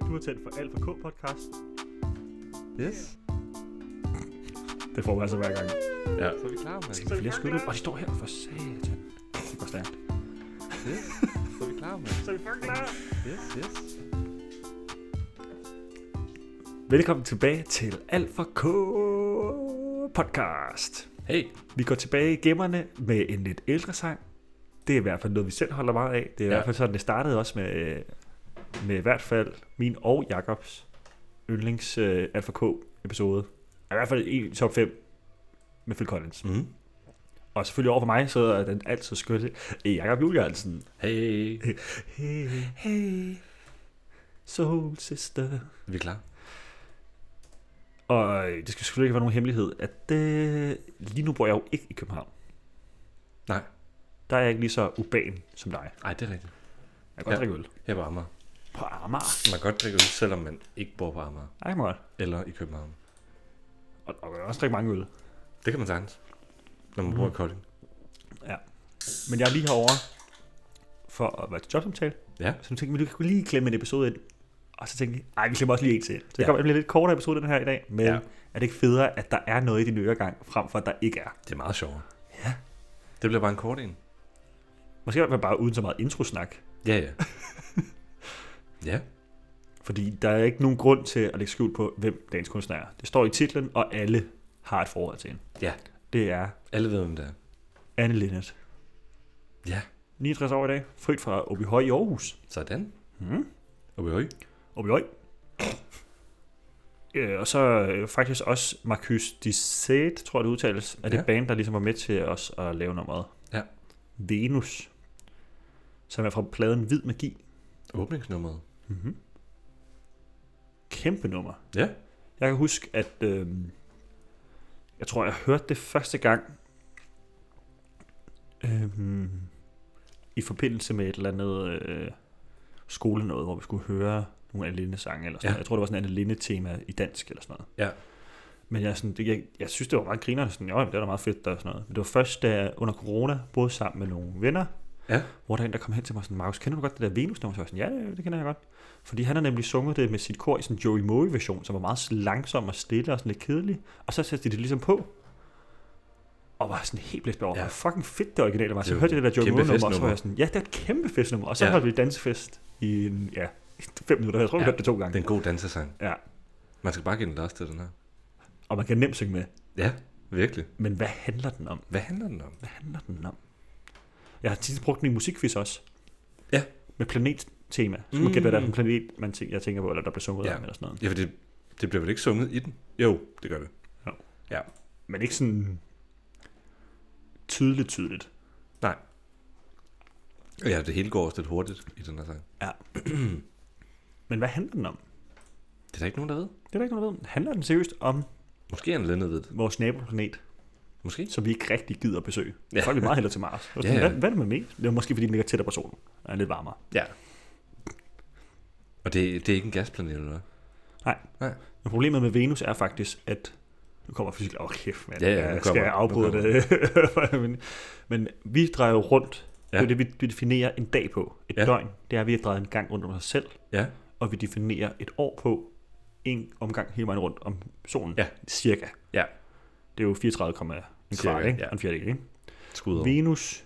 Kurtæt for Alfa K podcast. Yes. Det får vi altså hver gang. Ja. Så er vi klar, mand. Skal vi flere skytte? Og de står her for satan. Det går stærkt. Yes. Så er vi klar, mand. Så er vi fucking klar. Yes, yes. Velkommen tilbage til Alfa K podcast. Hey. Vi går tilbage i gemmerne med en lidt ældre sang. Det er i hvert fald noget, vi selv holder meget af. Det er i Ja. hvert fald sådan, det startede også med, øh, med i hvert fald min og Jakobs yndlings øh, Alfa K episode. I hvert fald en i top 5 med Phil Collins. Mm. Og selvfølgelig over for mig sidder den altid skønne Jakob Juliansen. Hey. Hey, hey, soul sister. Vi er klar. Og øh, det skal selvfølgelig ikke være nogen hemmelighed, at det, lige nu bor jeg jo ikke i København. Nej. Der er jeg ikke lige så urban som dig. Ej, det er rigtigt. Jeg kan godt ja. Ja. drikke øl. Her på Amager. På Amager. Man kan godt drikke øl, selvom man ikke bor på Amager. Ej, man godt. Eller i København. Og, og jeg kan også drikke mange øl. Det kan man sagtens. Når man mm. bor i Kolding. Men jeg er lige herovre for at være til jobsamtale. Ja. Så nu tænkte jeg, at vi kunne lige klemme en episode ind. Og så tænkte jeg, ej, vi klemmer også lige en til. Så det Ja. kommer bliver lidt kortere episode den her i dag. Men ja. Ja. er det ikke federe, at der er noget i din øregang, frem for at der ikke er? Det er meget sjovere. Ja. Det bliver bare en kort en. Måske i hvert fald bare uden så meget introsnak. Ja, ja. ja. Fordi der er ikke nogen grund til at lægge skjul på, hvem dagens kunstner er. Det står i titlen, og alle har et forhold til hende. Ja. Det er Alle ved, hvem det er. Anne Linnet. Ja. 69 år i dag, født fra Åbyhøj i Aarhus. Sådan. Mm. Og vi Åbyhøj. Øh, og så øh, faktisk også Marcus Dissette, tror jeg det udtales, er det Ja. band, der ligesom var med til os at lave nummeret. Ja. Venus, som er fra pladen Hvid Magi. Åbningsnummeret. Mm-hmm. Kæmpe nummer. Ja. Jeg kan huske, at øh, jeg tror, jeg hørte det første gang øh, i forbindelse med et eller andet øh, skolenåde, hvor vi skulle høre nogle Anne Linde sange eller sådan Ja. noget. Jeg tror, det var sådan en Anne Linde tema i dansk eller sådan noget. Ja. Men jeg, er sådan, det, jeg, jeg synes, det var meget griner, sådan, jo, det var da meget fedt der og sådan noget. Men det var først, da jeg under corona boede sammen med nogle venner, Ja. hvor der er en, der kom hen til mig og sådan, Markus, kender du godt det der Venus-nummer? Så var jeg sådan, ja, ja, det kender jeg godt. Fordi han har nemlig sunget det med sit kor i sådan en Joey Moe-version, som var meget langsom og stille og sådan lidt kedelig. Og så satte de det ligesom på. Og var sådan helt blæst over. Ja. Ja. fucking fedt det originale var. Så Det er hørte jeg det der Joey kæmpe Moe-nummer, og så festnummer. var jeg sådan, ja, det er et kæmpe festnummer. Og så ja. Ja. holdt vi dansefest i en, ja, fem minutter. Jeg tror, vi Ja. hørte det to Det er gange. en god dansesang. Ja. Man skal bare give den los til den her. Og man kan nemt synge med. Ja, virkelig. Men hvad handler den om? Hvad handler den om? Hvad handler den om? Jeg har tit brugt den i musikquiz også. Ja. Med planettema. Så man mm. Mm. gætter, hvad det er for en planet, man tænker, jeg tænker på, eller der bliver sunget ja. Ja. om, eller sådan noget. Ja, for det, det bliver vel ikke sunget i den? Jo, det gør det. Men ikke sådan tydeligt, tydeligt. Ja, det hele går også lidt hurtigt i den her sang. Men hvad handler den om? Det er der ikke nogen, der ved. Det er der ikke noget, der ved. Handler den seriøst om Måske er en lændet ved det. vores naboplanet, Måske. som vi ikke rigtig gider at besøge? Ja. Ja. Folk vil meget hellere til Mars. Og sådan, Ja, ja. Hvad, hvad er det med mig? Det er måske, fordi den ligger tættere på solen og er lidt varmere. Ja. Og det, det er ikke en gasplanet, eller hvad? Men problemet med Venus er faktisk, at... Nu kommer fysik... Åh, kæft, mand. Ja, ja, nu jeg skal kommer- jeg nu afbryde det. men, men vi drejer jo rundt. Ja. Det Ja. er det, vi, vi definerer en dag på. Et ja. Ja. døgn. Det er, at vi har drejet en gang rundt om os selv. Ja. Og vi definerer et år på en omgang hele vejen rundt om solen. Ja. Cirka. Ja. Det er jo 34,1 Cirka, kvart, ikke? ja. Ja. En fjerdedel, ikke? Skud over. Venus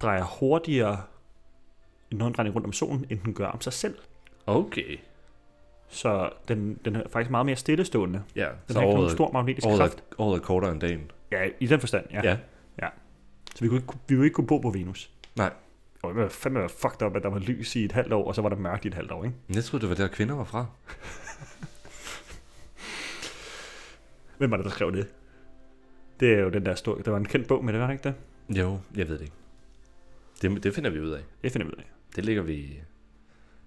drejer hurtigere en hånddrejning rundt om solen, end den gør om sig selv. Okay. Så den, den er faktisk meget mere stillestående. Ja, Den så har ikke året, nogen stor magnetisk året, kraft. er, året er kortere end dagen. Ja, i den forstand, ja. Ja. Så vi kunne, ikke, vi kunne ikke kunne bo på Venus. Nej. Og jeg var fandme være fucked up, at der var lys i et halvt år, og så var der mørkt i et halvt år, ikke? Men jeg troede, det var der, kvinder var fra. Hvem var det, der skrev det? Det er jo den der store... Der var en kendt bog med det, var det ikke det? Jo, jeg ved det ikke. Det, det finder vi ud af. Det finder vi ud af. Det ligger vi...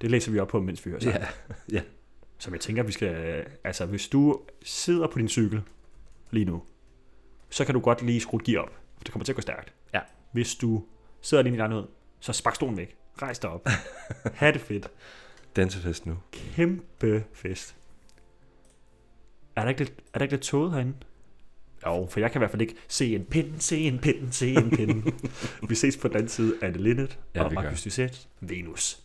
Det læser vi op på, mens vi hører sammen. Ja. Som jeg tænker, vi skal... Altså, hvis du sidder på din cykel lige nu, så kan du godt lige skrue et gear op. For det kommer til at gå stærkt. Ja. Hvis du sidder alene i din lejlighed, så spark stolen væk. Rejs dig op. ha' det fedt. Dansefest nu. Kæmpe fest. Er der ikke lidt, er der ikke lidt tåget herinde? Jo. For jeg kan i hvert fald ikke se en pind, se en pind, se en pind. vi ses på den anden side af det Linnet Ja, og vi gør. Markus Dysset, Venus.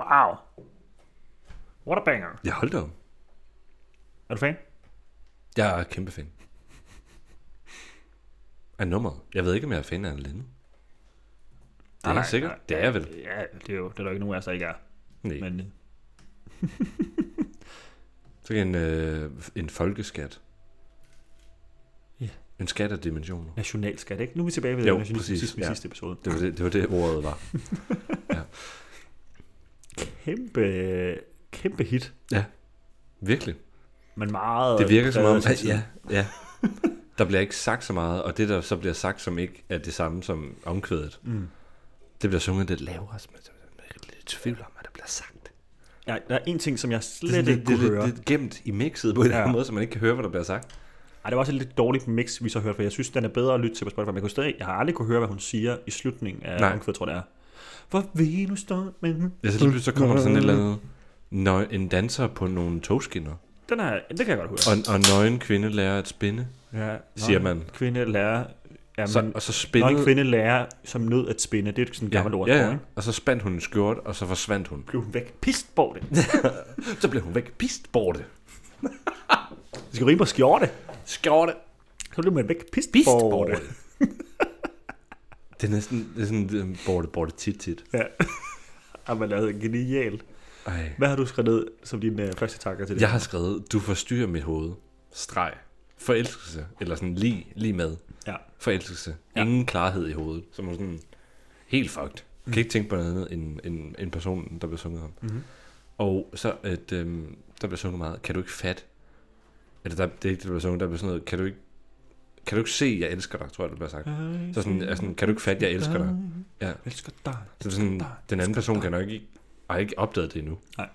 Wow. What a banger. Ja, hold da op. Er du fan? Jeg er kæmpe fan. Af nummeret. Jeg ved ikke, om jeg er fan af Anne Linde. Det er Nej, jeg nej, sikkert. nej. det er jeg vel. Ja, det er jo det er der jo ikke nogen af os, der ikke er. Nej. Men øh, Så kan en, øh, en folkeskat. Ja. En skat af dimensioner. nationalskat, ikke? Nu er vi tilbage ved Jo, jo, nationalisme præcis, præcis, sidste, ja. ja. sidste episode. Det var det, det, var det ordet var. Kæmpe, kæmpe hit, Virkelig. men meget... Det virker som om, præget af sin tid. ja, ja. Der bliver ikke sagt så meget, og det, der så bliver sagt, som ikke er det samme som omkvædet, Mm. det bliver sunget lidt lavere, så man så man er lidt i tvivl om, hvad der bliver sagt. Ja, der er en ting, som jeg Det er sådan slet ikke lidt, det, kunne det, høre. det, er gemt i mixet på en eller Ja. anden måde, så man ikke kan høre, hvad der bliver sagt. Ej, det var også et lidt dårligt mix, vi så hørte, for jeg synes, den er bedre at lytte til på Spotify. Men jeg, kunne stadig, jeg har aldrig kunne høre, hvad hun siger i slutningen af Nej. omkvædet, tror jeg, det er. Hvor vi nu står med... Ja, så lige pludselig så kommer der sådan et eller andet, nø, en danser på nogle togskinner, Den er, det kan jeg godt høre. og, og nøgen kvinde lærer at spinde, ja, nå, siger man. Kvinde lærer... Ja, Så, så, og så når spindede, en kvinde lærer som nød at spinde, det er jo sådan en gammel ord, ja, tror jeg, ja, ikke? og så spandt hun en skjort, og så forsvandt hun. Blev hun væk. Pist på det. Så blev hun væk, pist borte. Det skal rime på skjorte. Skjorte. Så blev man væk. Pist, Bist på borte. det. Det er næsten det er sådan, øhm, borte, borte, tit, tit. Ja. Ej, man lavede altså genialt. Ej. Hvad har du skrevet ned som din øh, første tanker til det? Jeg har skrevet, du forstyrrer mit hoved. Streg. Forelskelse. Eller sådan lige, lige med. Ja. Forelskelse. Ja. Ingen klarhed i hovedet. Som er sådan helt fucked. Kan ikke tænke på noget andet end, end, end personen, der bliver sunget om. Mhm. Og så, at øhm, der bliver sunget meget, kan du ikke fat? Eller der, det er ikke det, der bliver sunget, der bliver sådan noget, kan du ikke, kan du ikke se, jeg elsker dig, tror jeg, det bliver sagt. Så sådan, er sådan kan du ikke fat, jeg elsker dig. Ja. Elsker dig. Så det er sådan, dig, den anden person kan nok ikke, har ikke opdaget det endnu. Nej.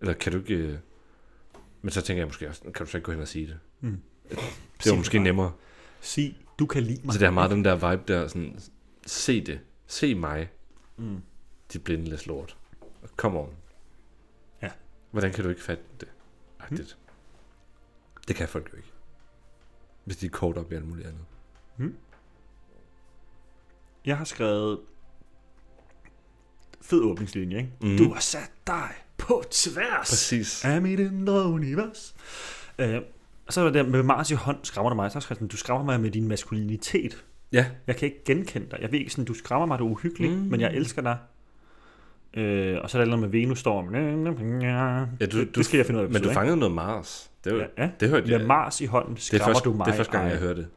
Eller kan du ikke... øh, Men så tænker jeg måske også, kan du så ikke gå hen og sige det? Mm. Det var måske nemmere. Sig, du kan lide mig. Så Altså, det er meget den der vibe der, sådan, se det, se mig, Mm. dit blindeless lort. Kom on. Ja. Hvordan kan du ikke fatte det? Ej, det. Hmm. Det kan folk jo ikke. Hvis de er kort op i alt muligt andet. Jeg har skrevet fed åbningslinje, ikke? Mhm. Du har sat dig på tværs Præcis. af mit indre univers. Øh, og så er der med Mars i hånd, skræmmer du mig. Så har jeg skrevet sådan, du skræmmer mig med din maskulinitet. Ja, Jeg kan ikke genkende dig. Jeg ved ikke sådan, du skræmmer mig, du er uhyggelig, Mm. mm. men jeg elsker dig. Øh, og så er der noget med Venus storm. ja du, du, det skal jeg finde ud af. men du ikke? fangede noget Mars. Det, var, Ja, ja. det hørte jeg. Med Mars i hånden det er skræmmer første, du mig. det er første gang, ej. jeg hørte det.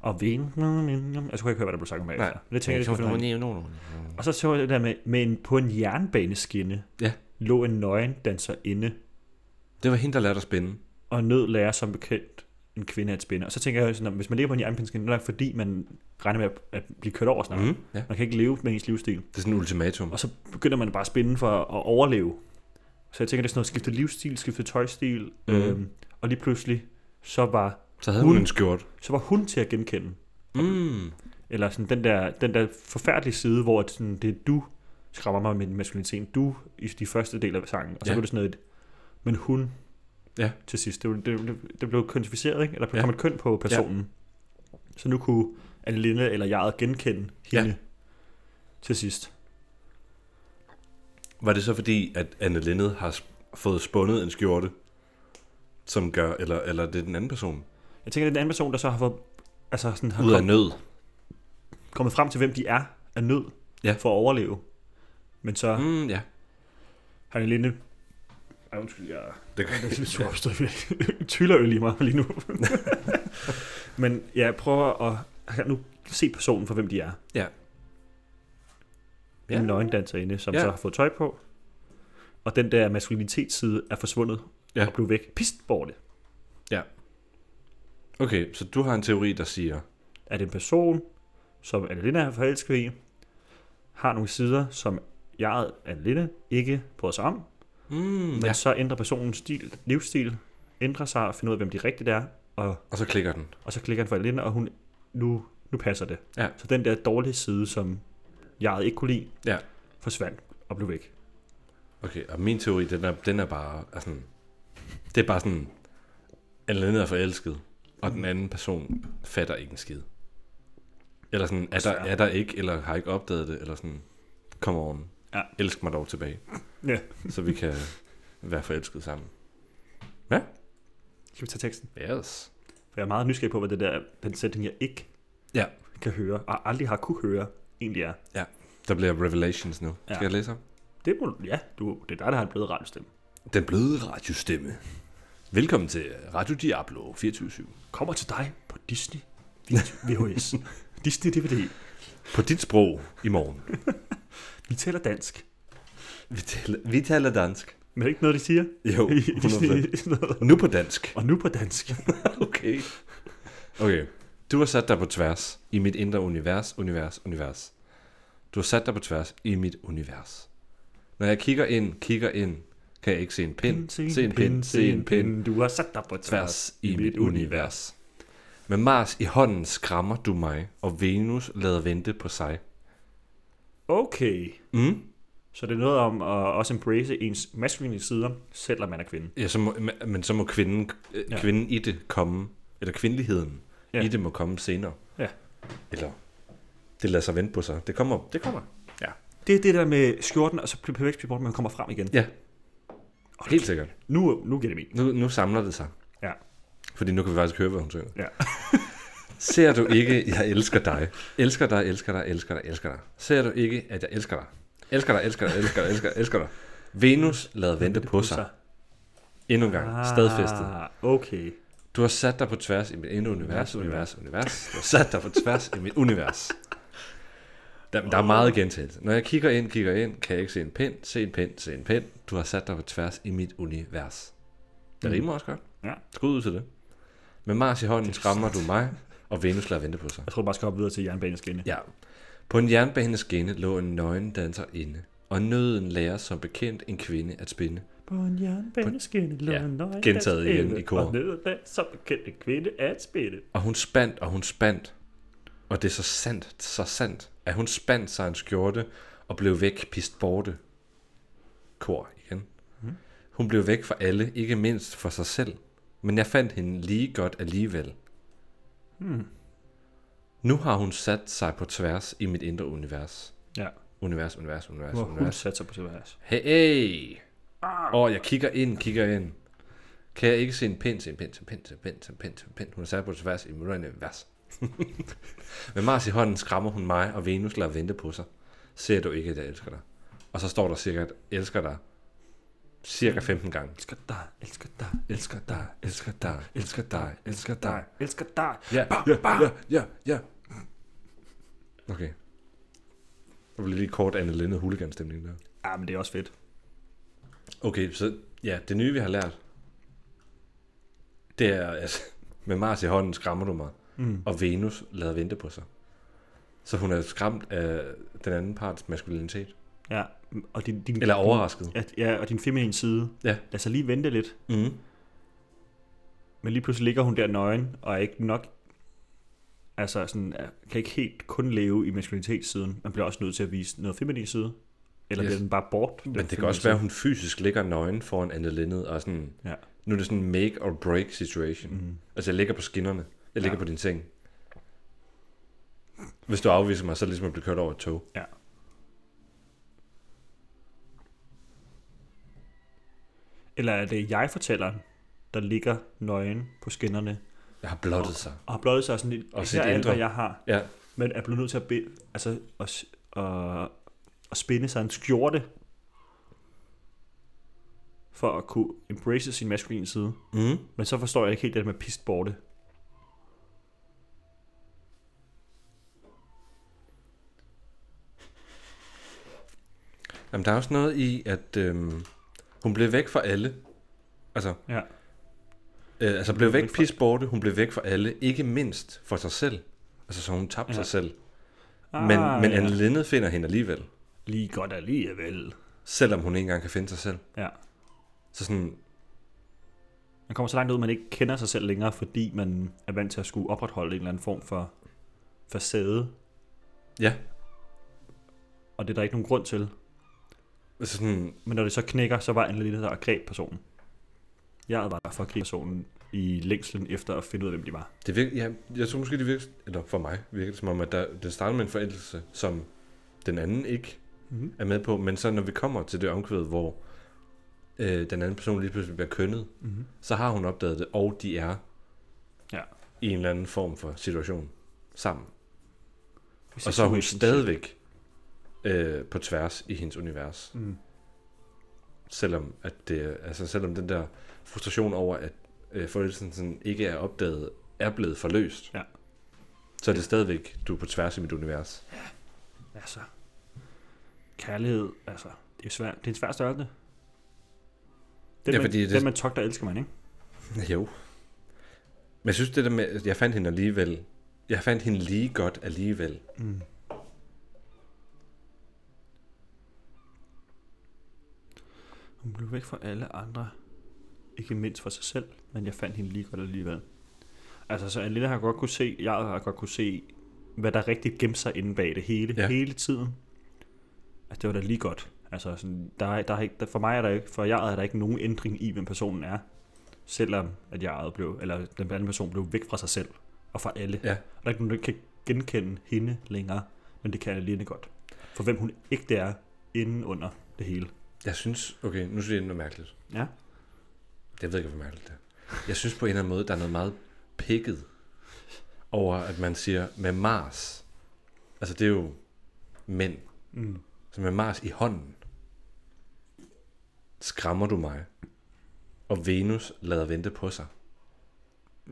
Og Venus. Jeg kunne ikke høre, hvad der blev sagt om bagefter. Det tænker jeg, det skal finde ud af. Og så så jeg det der med, med en, på en jernbaneskinne Ja. lå en nøgen danser inde, Det var hende, der lærte at spænde. og nød lærer som bekendt en kvinde at spinde. Og så tænker jeg sådan, at hvis man ligger på en jernbaneskinne, så er det fordi, man regner med at, at blive kørt over snart. Mm. Mm. Ja. Man kan ikke leve med ens livsstil. Det er sådan et ultimatum. Og så begynder man bare at spinde for at overleve. Så jeg tænker, det er sådan noget, skifte livsstil, skifte tøjstil, Mhm. mm. øhm, og lige pludselig, så var, Så havde hun Hun- en skjort. så var hun til at genkende. Mm. Eller sådan den der, den der forfærdelige side, hvor at sådan, det er du skræmmer mig med din maskulinitet. Du i de første del af sangen. Og så Ja. ja. blev det sådan noget, et, men hun Ja. til sidst. Det, var- det, det, det blev kønsificeret, ikke? Eller der Ja. kom et køn på personen. Ja. Så nu kunne Anne Linde eller jeg genkende Ja. hende ja. til sidst. Var det så fordi, at Anne Linnet har sp- fået spundet en skjorte, som gør, eller, eller er det er den anden person? Jeg tænker, det er den anden person, der så har, fået, altså sådan, har Ud af kom, nød. kommet frem til, hvem de er af nød Ja. for at overleve. Men så mm. Mm, ja. har Anne Linde... Ej, undskyld, jeg Det gør Det er lidt sur opstået. Tyllerøl i mig lige nu. Men jeg prøver at her nu se personen for, hvem de er. Ja. Ja. En nøgendanserinde, som Ja. ja. så har fået tøj på. Og den der maskulinitetsside er forsvundet Ja. ja. og blev væk. Pist bort det. Okay, så du har en teori, der siger, Er det en person, som Annalena er forelsket i, har nogle sider, som jeg, Annalena, ikke bryder sig om, mm, men ja. ja. så ændrer personens stil, livsstil, ændrer sig og finder ud af, hvem de rigtigt er, og og så klikker den. Og så klikker han for Elena, og hun, nu, nu passer det. Ja. Så den der dårlige side, som jeg ikke kunne lide, Ja. forsvandt og blev væk. Okay, og min teori, den er, den er bare er sådan, det er bare sådan, Anne Linnet er forelsket, og den anden person fatter ikke en skid. Eller sådan, er der, er der ikke, eller har ikke opdaget det, eller sådan, come on, Ja. elsk mig dog tilbage. Ja. så vi kan være forelskede sammen. Kan vi tage teksten? Yes. For jeg er meget nysgerrig på, hvad det der, den sætning, jeg ikke Ja. kan høre, og aldrig har kunne høre, egentlig er. Der bliver revelations nu. Ja. Ja. Skal jeg læse om? Det må, ja, du, det er dig, der har en blød radiostemme. Den bløde radiostemme. Velkommen til Radio Diablo 24 Kommer til dig på Disney VHS. Disney DVD. På dit sprog i morgen. Vi taler dansk. vi, taler, vi taler dansk. Men er det ikke noget, de siger? Jo, I Disney- 100%. Nu på dansk. og nu på dansk. Okay. Okay. Du har sat dig på tværs i mit indre univers, univers, univers. Du har sat dig på tværs i mit univers. Når jeg kigger ind, kigger ind, kan jeg ikke se en pind, se en pind, se en pind, Du har sat dig på tværs i mit univers. Med Mars i hånden skræmmer du mig, og Venus lader vente på sig. Okay. Mm? Så det er noget om at også embrace ens maskuline sider, selvom man er kvinde. Ja, så må, men så må kvinden, øh, Ja. kvinden i det komme, eller kvindeligheden Ja. ja. i det må komme senere. Ja. Eller det lader sig vente på sig. Det kommer. Det kommer. Det er det der med skjorten, og så bliver perfekt sport, man kommer frem igen. Ja. Helt sikkert. Nu, nu giver det mening. Nu, nu samler det sig. Ja. Fordi nu kan vi faktisk høre, hvad hun synger. Ja. Ser du ikke, jeg elsker dig. Elsker dig, elsker dig, elsker dig, elsker dig. Ser du ikke, at jeg elsker dig. Elsker dig, elsker dig, elsker dig, elsker dig, elsker dig. Venus lader vente på sig. Endnu en gang. Stadfæstet. Ah, okay. Du har sat dig på tværs i mit indre univers, univers, univers. Du har sat dig på tværs i mit univers. Der, der er meget gentagelse. Når jeg kigger ind, kigger ind, kan jeg ikke se en pind, se en pind, se en pind. Du har sat dig på tværs i mit univers. Det Mm. rimer også godt. Ja. Skud ud til det. Med Mars i hånden skræmmer du mig, og Venus lader vente på sig. Jeg tror, du bare skal hoppe videre til jernbanens skinne. Ja. På en jernbaneskinne lå en nøgen danser inde, og nøden lærer som bekendt en kvinde at spinde. På en jernbaneskinne lå Ja, en nøgen gentaget dansk igen kvinde, i kor. Og ned ad så bekendt en kvinde at spille. Og hun spandt, og hun spandt. Og det er så sandt, så sandt, at hun spandt sig en skjorte og blev væk pist borte. Kor igen. Hun blev væk for alle, ikke mindst for sig selv. Men jeg fandt hende lige godt alligevel. Nu har hun sat sig på tværs i mit indre univers. Ja, Univers, univers, univers, hvor hun univers. satte sig på sit værelse. Hey, hey! Åh, oh, jeg kigger ind, kigger ind. Kan jeg ikke se en pind, se en pind, se en pind, se en pind, se en pind, se en pind. Hun er sat på tværs i møllerne vers. Med Mars i hånden skræmmer hun mig, og Venus lader vente på sig. Ser du ikke, at jeg elsker dig? Og så står der sikkert, elsker dig, cirka 15 gange. Elsker dig, elsker dig, Elsker dig, elsker dig, elsker dig, elsker dig. dig, elsker dig. Ja, ja, ja, ja, ja. Okay. Der blev lige kort Anne Linde huliganstemning der. Ja, men det er også fedt. Okay, så ja, det nye vi har lært, det er, altså, med Mars i hånden skræmmer du mig, mm. og Venus lader vente på sig. Så hun er skræmt af den anden parts maskulinitet. Ja, og din, din, Eller overrasket. at, Mm. ja, og din feminine side. Ja. Lad sig lige vente lidt. Mm. Men lige pludselig ligger hun der nøgen, og er ikke nok... Altså, sådan, er- kan ikke helt kun leve i maskulinitetssiden. Man bliver også nødt til at vise noget feminin side. Eller Yes. yes. bliver den bare bort? den Men det kan feminine også være, at hun fysisk ligger nøgen foran Anne Linnet, og sådan, Ja. nu er det sådan en make or break situation. Mm. Altså, jeg ligger på skinnerne. Jeg ligger Ja. på din seng. Hvis du afviser mig, så er det ligesom at blive kørt over et tog. side. Ja. Eller er det jeg-fortælleren, der ligger nøgen på skinnerne, Jeg har blottet sig. og har blottet sig sådan lidt, Og og sit her er alt, indre. hvad jeg har, Ja, men er blevet nødt til at, be, altså, at, s- at, at spænde sig en skjorte, for at kunne embrace sin maskuline side. mm. Men så forstår jeg ikke helt det der med pistborte. Jamen, der er også noget i, at øhm, hun blev væk fra alle. Altså, Ja. øh, altså blev væk pis borte, hun blev væk fra alle, ikke mindst for sig selv. Altså, så hun tabte Ja. ja. sig selv. Men, ah, men ja. Anne Linde finder hende alligevel, Lige godt alligevel. selvom hun ikke engang kan finde sig selv. Ja. Så sådan, Man kommer så langt ud, man ikke kender sig selv længere, fordi man er vant til at skulle opretholde en eller anden form for facade, ja. og det er der ikke nogen grund til. Altså sådan, Men når det så knækker, så var Anne Linde der og greb personen. Jeg var der for at gribe personen i længslen efter at finde ud af, hvem de var. det virker, ja, jeg tror måske, det virker, eller for mig virker det som om, at der, det starter med en forældelse, som den anden ikke Mm. er med på, men så når vi kommer til det omkvæd, hvor øh, den anden person lige pludselig bliver kønnet, Mm. så har hun opdaget det, og de er Ja. i en eller anden form for situation sammen. Og så er hun stadigvæk øh, på tværs i hendes univers. Mm. Selvom, at det, altså, selvom den der frustration over, at øh, forelsen sådan ikke er opdaget, er blevet forløst. Ja. Så er det stadigvæk, du er på tværs i mit univers. Altså, kærlighed, altså, det er, svært. det er en svær størrelse. Den, Ja, man, fordi det- den man togter, elsker man, ikke? Jo. Men jeg synes det der med, at jeg fandt hende alligevel, jeg fandt hende lige godt alligevel. Mm. Hun blev væk fra alle andre. Ikke mindst for sig selv, men jeg fandt hende lige godt alligevel. Altså, så Alina har godt kunne se, jeg har godt kunne se, hvad der rigtig gemte sig inde bag det hele, ja. Ja. hele tiden. Altså, det var da lige godt. Altså, sådan, der, er- der, er ikke, der, for mig er der ikke, for jeg er der ikke nogen ændring i, hvem personen er. Selvom at jeg blev, eller den anden person blev væk fra sig selv og fra alle. Ja. Og der er ikke nogen, der kan genkende hende længere, men det kan Aline godt. For hvem hun ikke er inden under det hele. Jeg synes, okay, nu synes jeg det er noget mærkeligt. Ja. Jeg ved ikke, hvor mærkeligt det er. Jeg synes på en eller anden måde, der er noget meget pikket over, at man siger med Mars. Altså, det er jo mænd. Mm. Så med Mars i hånden skræmmer du mig. Og Venus lader vente på sig.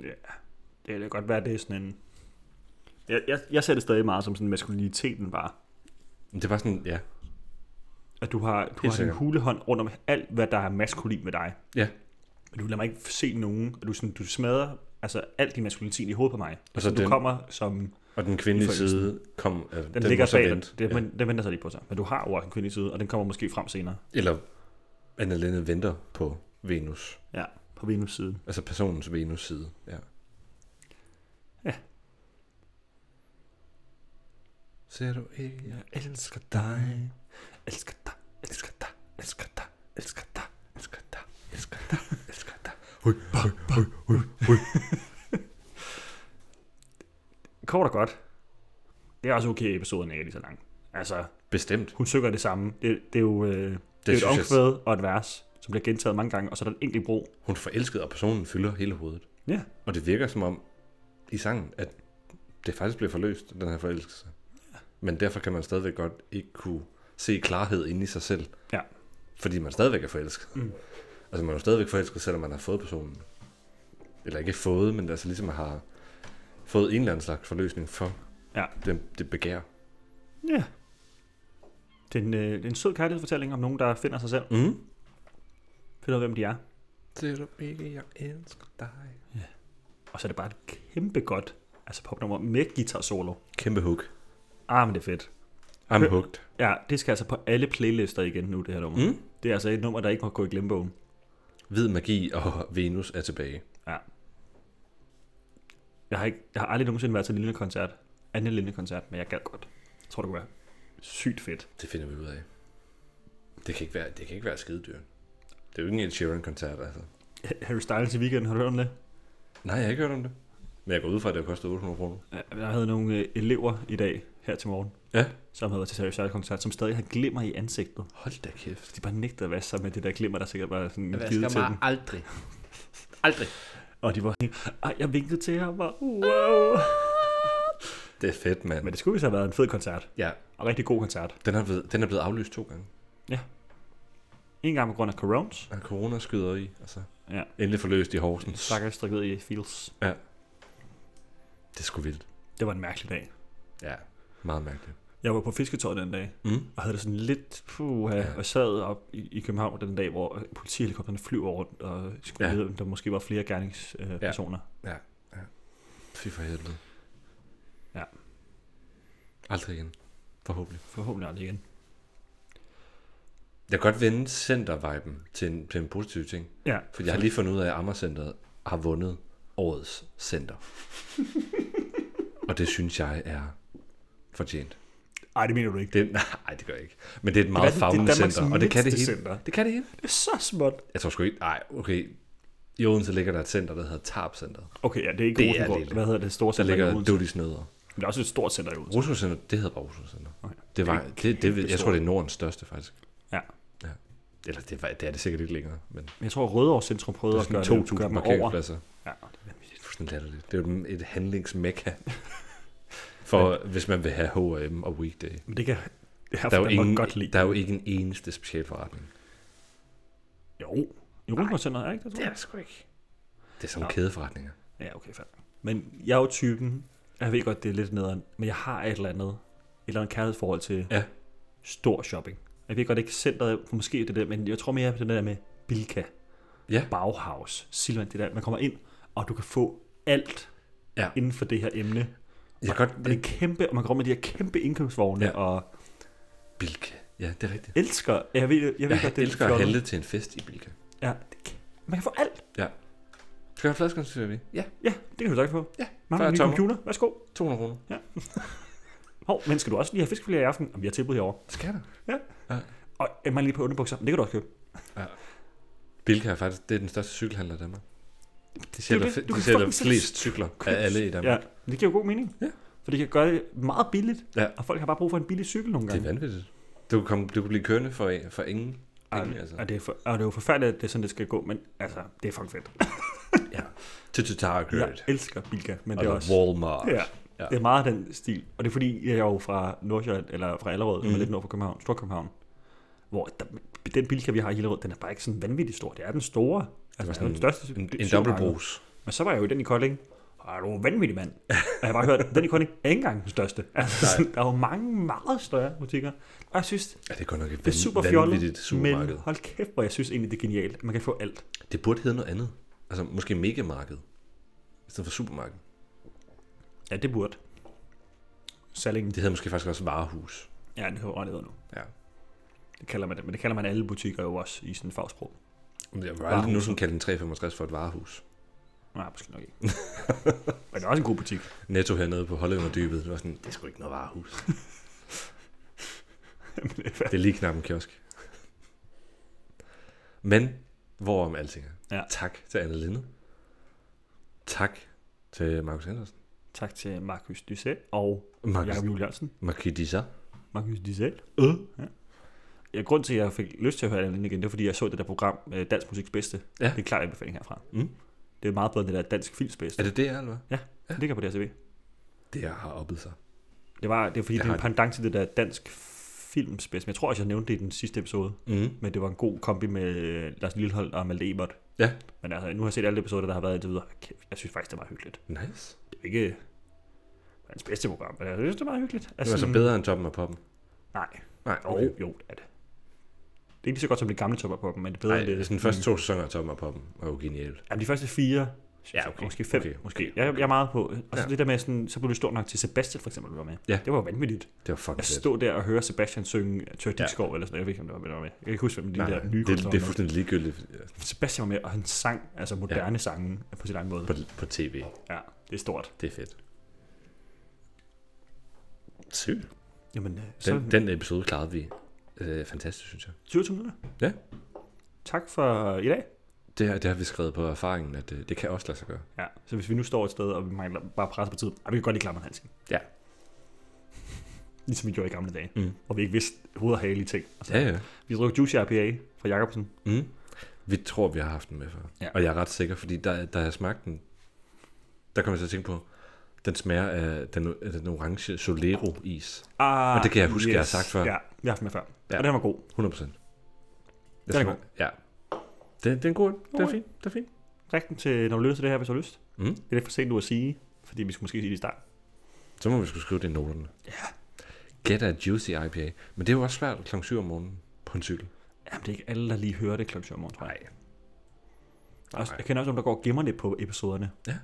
Ja, det kan godt være, det er sådan en... Jeg, jeg, jeg ser det stadig meget som sådan maskuliniteten bare. Men det er bare sådan, ja. At du har, du har sådan en sikkert. hulehånd rundt om alt, hvad der er maskulin med dig. Ja. Men du lader mig ikke se nogen. Du, er sådan, du smadrer altså, alt din maskulinitet i hovedet på mig. Og så du den- kommer som Og den kvindelige I forelsen. side kom, øh, Den, den ligger bag dig. vente. Den, Ja. ja. den venter sig lige på sig. Men du har jo også en kvindelig side, og den kommer måske frem senere. Eller Anna Linde venter på Venus. Ja, på Venus siden. Altså personens Venus side. Ja. Ja. Ser du ikke, jeg elsker dig. Elsker dig, elsker dig, elsker dig, elsker dig, elsker dig, elsker dig, elsker dig. Hui, hui, hui, hui, hui. Kort og godt. Det er også okay, episoden er ikke lige så lang. Altså, Bestemt. hun søger det samme. Det, det er jo øh, det det er synes et jeg- omkvæd og et vers, som bliver gentaget mange gange, og så er der en enkelt bro. Hun er forelsket, og personen fylder hele hovedet. Ja. Og det virker som om i sangen, at det faktisk bliver forløst, den her forelskelse. Men derfor kan man stadigvæk godt ikke kunne se klarhed inde i sig selv. Ja. Fordi man stadigvæk er forelsket. Mm. Altså man er jo stadigvæk forelsket, selvom man har fået personen. Eller ikke fået, men altså ligesom man har fået en eller anden slags forløsning for Ja. det, det begær. Ja. Det er en, øh, det er en sød kærlighedsfortælling om nogen, der finder sig selv. Mm. Finder ud af, hvem de er. Ser du ikke, jeg elsker dig. Og så er det bare et kæmpe godt altså popnummer med guitar solo. Kæmpe hook. Ah, men det er fedt. I'm Hø- hooked. Ja, det skal altså på alle playlister igen nu, det her nummer. Mm. Det er altså et nummer, der ikke må gå i glemmebogen. Hvid magi og Venus er tilbage. Jeg har, ikke, jeg har aldrig nogensinde været til en lille koncert. Anden lille koncert, men jeg gad godt. Jeg tror, det kunne være sygt fedt. Det finder vi ud af. Det kan ikke være, det kan ikke være skidedyr. Det er jo ikke en Ed Sheeran-koncert, altså. Harry Styles i weekenden, har du hørt om det? Nej, jeg har ikke hørt om det. Men jeg går ud fra, at det har kostet 800 kroner. Ja, Jeg havde nogle øh, elever i dag, her til morgen, Ja. som havde været til Harry Styles koncert, som stadig har glimmer i ansigtet. Altså, Hold da kæft. De bare nægtede at vaske sig med det der glimmer, der sikkert var sådan givet til dem. aldrig. Aldrig. Og de var sådan, "Ej, jeg vinkede til ham, og wow. Det er fedt, mand. Men det skulle vist have været en fed koncert, Ja, og rigtig god koncert. den er, blevet, den er blevet aflyst to gange. En gang på grund af corones, Og corona skyder i, altså. Ja. Endelig forløst i Horsens. stakkels der i Fields. Det er sgu vildt. Det var en mærkelig dag. Ja, meget mærkeligt. Jeg var på fisketøj den dag, Mm. og havde det sådan lidt, puh, Ja. ja. og sad op i, i København den dag, hvor politihelikopterne flyver rundt, og skulle Ja. ja. vide, om der måske var flere gerningspersoner. Øh, personer. Fy for helvede. Ja. Aldrig igen. Forhåbentlig. Forhåbentlig aldrig igen. Jeg kan godt vende center-viben til en, til en positiv ting. Ja, For jeg har lige fundet ud af, at Amagercenteret har vundet årets center. og det synes jeg er fortjent. Ej, det mener du ikke. Det, nej, det gør jeg ikke. Men det er et meget fagnende center, og det kan det hele. Center. Det kan det hele. Det er så småt. Jeg tror sgu ikke, nej, okay. I Odense ligger der et center, der hedder Tarp Center. Okay, ja, det er ikke Det er Rosenborg. lille. Hvad hedder det store Der center? i ligger Odense? Dudis Nødder. Men det er også et stort center i Odense. Rusko Center, det hedder bare Rusko Center. Okay. Det var, Det er det, det, jeg tror, kæmpestort. det er Nordens største, faktisk. Ja. ja. Eller det, var, det er det sikkert ikke længere, men Men jeg tror, Rødovre Centrum det prøvede er at gøre sådan det, 2.000 gøre dem over. parkeringspladser. Ja, Det er fuldstændig latterligt. Det er jo et handlingsmekka. For hvis man vil have H&M og Weekday. men det kan jeg Der er, jo ingen, godt lide. der er jo ikke en eneste specialforretning. Jo, i Rundgårdscenteret er ikke det, tror jeg. er sgu ikke. Det er sådan Nå. nogle kædeforretninger. Ja, okay, fair. Men jeg er jo typen, jeg ved godt, det er lidt nederen, men jeg har et eller andet, et eller andet kærlighedsforhold til Ja. stor shopping. Jeg ved godt ikke centret, for måske det er det, men jeg tror mere på den der med Bilka, Ja. Bauhaus, Silvan, det der, man kommer ind, og du kan få alt Ja. inden for det her emne. Jeg kan Og godt det er lide kæmpe, og man kommer med de her kæmpe indkøbsvogne, ja. Ja. og Bilka. Ja, det er rigtigt. elsker, jeg ved, jeg ved Jeg, godt, det er elsker at fjollet. handle til en fest i Bilka. Ja, det kan- man kan få alt. Skal jeg have flaskerne Ja, Ja, det kan du sagtens få. Ja, Mange fyrre nye tommer. computer, værsgo. 200 kroner. Hov, men skal du også lige have fiskefilet i aften? Jamen, vi har tilbud herovre. Skal der? Og er man lige på underbukser, men det kan du også købe. Bilka er faktisk det er den største cykelhandler i Danmark. De er jo sælger, det. fe- Du de kan sælger fucking selv flest cykler af alle i Danmark. Ja, men det giver jo god mening. Ja. For det kan gøre det meget billigt, Ja. og folk har bare brug for en billig cykel nogle Det er gange. vanvittigt. Du kan, komme, du kan blive kørende for, for ingen. og, vanvittigt, altså. og, det er for, og det er jo forfærdeligt, at det er sådan, det skal gå, men altså, det er fucking fedt. Til til Target. Jeg elsker Bilka, men det er Eller også... Walmart. Ja. Ja. Det er meget den stil. Og det er fordi, jeg er jo fra Nordsjælland, eller fra Allerød, mm. Mhm. lidt nord for København, Storkøbenhavn, hvor der, den bilka, vi har i Hillerød, den er bare ikke sådan vanvittigt stor. Det er den store. Altså, det er sådan den største. En, en supermarked. dobbeltbrus. Men så var jeg jo i den i Kolding. Og du er vanvittig mand. Og jeg har bare hørt, den i Kolding er ikke engang den største. Altså, sådan, der er jo mange meget større butikker. Og jeg synes, Ja, det er godt nok et det er super van- vanvittigt fjollet, men supermarked. hold kæft, hvor jeg synes egentlig, det er genialt. Man kan få alt. Det burde hedde noget andet. Altså måske megamarked. I stedet for supermarked. Ja, det burde. Sallingen, Det hedder måske faktisk også varehus. ja, det hører nu. Ja. Det kalder man det, men det kalder man alle butikker jo også i sådan en fagsprog. Men Jeg vil Varehus. aldrig nogensinde kalde en 365 for et varehus. Nej, måske nok ikke. men det er også en god butik. Netto hernede på Hollevunderdybet. Det var sådan, det er sgu ikke noget varehus. det er lige knap en kiosk. Men, hvorom alting er. Ja. Tak til Anne Linde. Tak til Markus Andersen. Tak til Markus Dysset og Markus Jakob Juel Jørgensen. Markus Dissa. Markus Dysset. Øh. Ja, grund til, at jeg fik lyst til at høre Anne Linde igen, det er, fordi jeg så det der program, øh, Dansk Musiks Bedste. Ja. Det er klart anbefaling herfra. Mm. Det er meget bedre end det der Dansk Films Bedste. Er det det, eller hvad? Det ligger på deres CV. Det jeg har oppet sig. Det, var, det er fordi, Jeg det er en har- pendant til det der Dansk Films Bedste. Men jeg tror også, jeg nævnte det i den sidste episode. Mm. Men det var en god kombi med øh, Lars Lillehold og Malte Ebert. Ja. Men altså, nu har jeg set alle episoder, der har været indtil videre. Kæft, Jeg synes faktisk, det var hyggeligt. Nice. Det er ikke hans bedste program, men jeg synes, det var hyggeligt. Altså, Det var så sådan- altså bedre end toppen og poppen. Nej, Nej, jo, okay. jo, det er det. Det er ikke lige så godt som de gamle topper på dem, men det er bedre Nej, end det. Mm. det er sådan de første to sæsoner af Toppen og Poppen var jo genialt. Jamen, de første fire, Ja, synes jeg, okay, måske fem, okay, måske. okay, Jeg, okay. jeg er meget på. Og så Ja. det der med, sådan, så blev det stort nok til Sebastian for eksempel, var med. Ja. Det var jo vanvittigt. Det var fucking Jeg fedt. stod der og hørte Sebastian synge øh, Tør Dikskov, ja. eller sådan noget. Jeg ved ikke, om det var med. Jeg kan ikke huske, hvem de Nej, der nye det, kunstnere det er var med. fuldstændig ligegyldigt altså, ja, Sebastian var med, og han sang altså moderne ja. sange på sin egen måde. på, på tv. Ja, det er stort. Det er fedt. Sygt. Jamen, øh, så Den, den episode klarede vi øh, fantastisk, synes jeg. 27 minutter. Ja. Tak for i dag. Det, har- det har vi skrevet på erfaringen, at øh, det, det kan også lade sig gøre. Ja, så hvis vi nu står et sted, og vi mangler bare pres på tid, ej, vi kan godt lige klare Hansen. Ja. Ligesom vi gjorde i gamle dage, Mm. hvor vi ikke vidste hoved og hale i ting. Altså, Ja, ja. Vi drog Juicy IPA fra Jacobsen. Mm. Vi tror, vi har haft den med før. Ja. Og jeg er ret sikker, fordi da, da jeg smagte den, der kom jeg til at tænke på, den smager af den, af den orange Solero-is. Ah, Og det kan jeg huske, jeg har sagt før. Ja, jeg har haft den med før. Ja. Ja. Og den var god. 100%. Den er god. Ja. Det, det er en god. Det God. er fint. Det er fint. Rigtig til, når du lytter til det her, hvis du har lyst. Mm. Det er lidt for sent nu at sige, fordi vi skulle måske sige det i starten. Så må vi skulle skrive det i noterne. Ja. Get a juicy IPA. Men det er jo også svært kl. 7 om morgenen på en cykel. Jamen, det er ikke alle, der lige hører det klokken 7 om morgenen, tror jeg. Nej. Der er også, nej. jeg kender også nogen, der går og gemmer lidt på episoderne. Ja.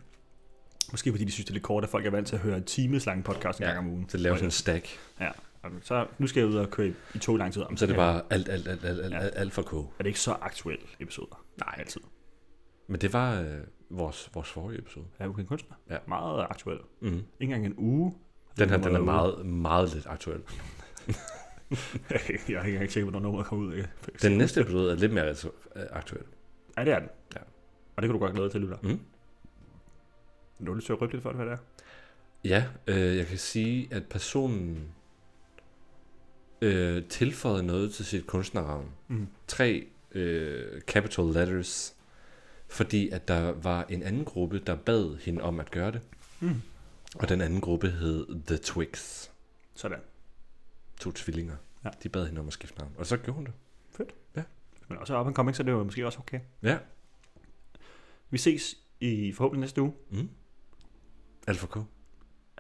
Måske fordi de synes, det er lidt kort, at folk er vant til at høre en times lang podcast en Ja, gang om ugen. Så laver sådan en stack. Ja, og så nu skal jeg ud og køre i, i tog i lang tid. Jamen, Så er det bare alt, alt, alt, alt, alt, Ja. alt, alt for k. er det ikke så aktuelle episoder. Nej. Altid. Men det var øh, vores, vores forrige episode. Er ukendt kunstner? Ja. Meget aktuel. Ikke Mm. engang en uge. Den her, den er ude. meget, meget lidt aktuel. jeg har ikke engang tjekket, hvornår nummeret kommer ud. Ikke? Den næste episode er lidt mere aktu- øh, aktuel. Ja, det er den. Ja. Og det kan du godt glæde dig til, lytter. Mm. Nu er du til at rykke lidt for, det, hvad det er. Ja, øh, jeg kan sige, at personen øh, tilføjede noget til sit kunstnernavn. Mm. Tre øh, capital letters, fordi at der var en anden gruppe, der bad hende om at gøre det. Mm. Og den anden gruppe hed The Twigs. Sådan. To tvillinger. Ja. De bad hende om at skifte navn. Og så gjorde hun det. Men også up and coming, så er det jo måske også okay. Ja. Vi ses i forhåbentlig næste uge. Mm. Alfa K.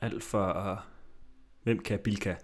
Alt for... Hvem kan Bilka?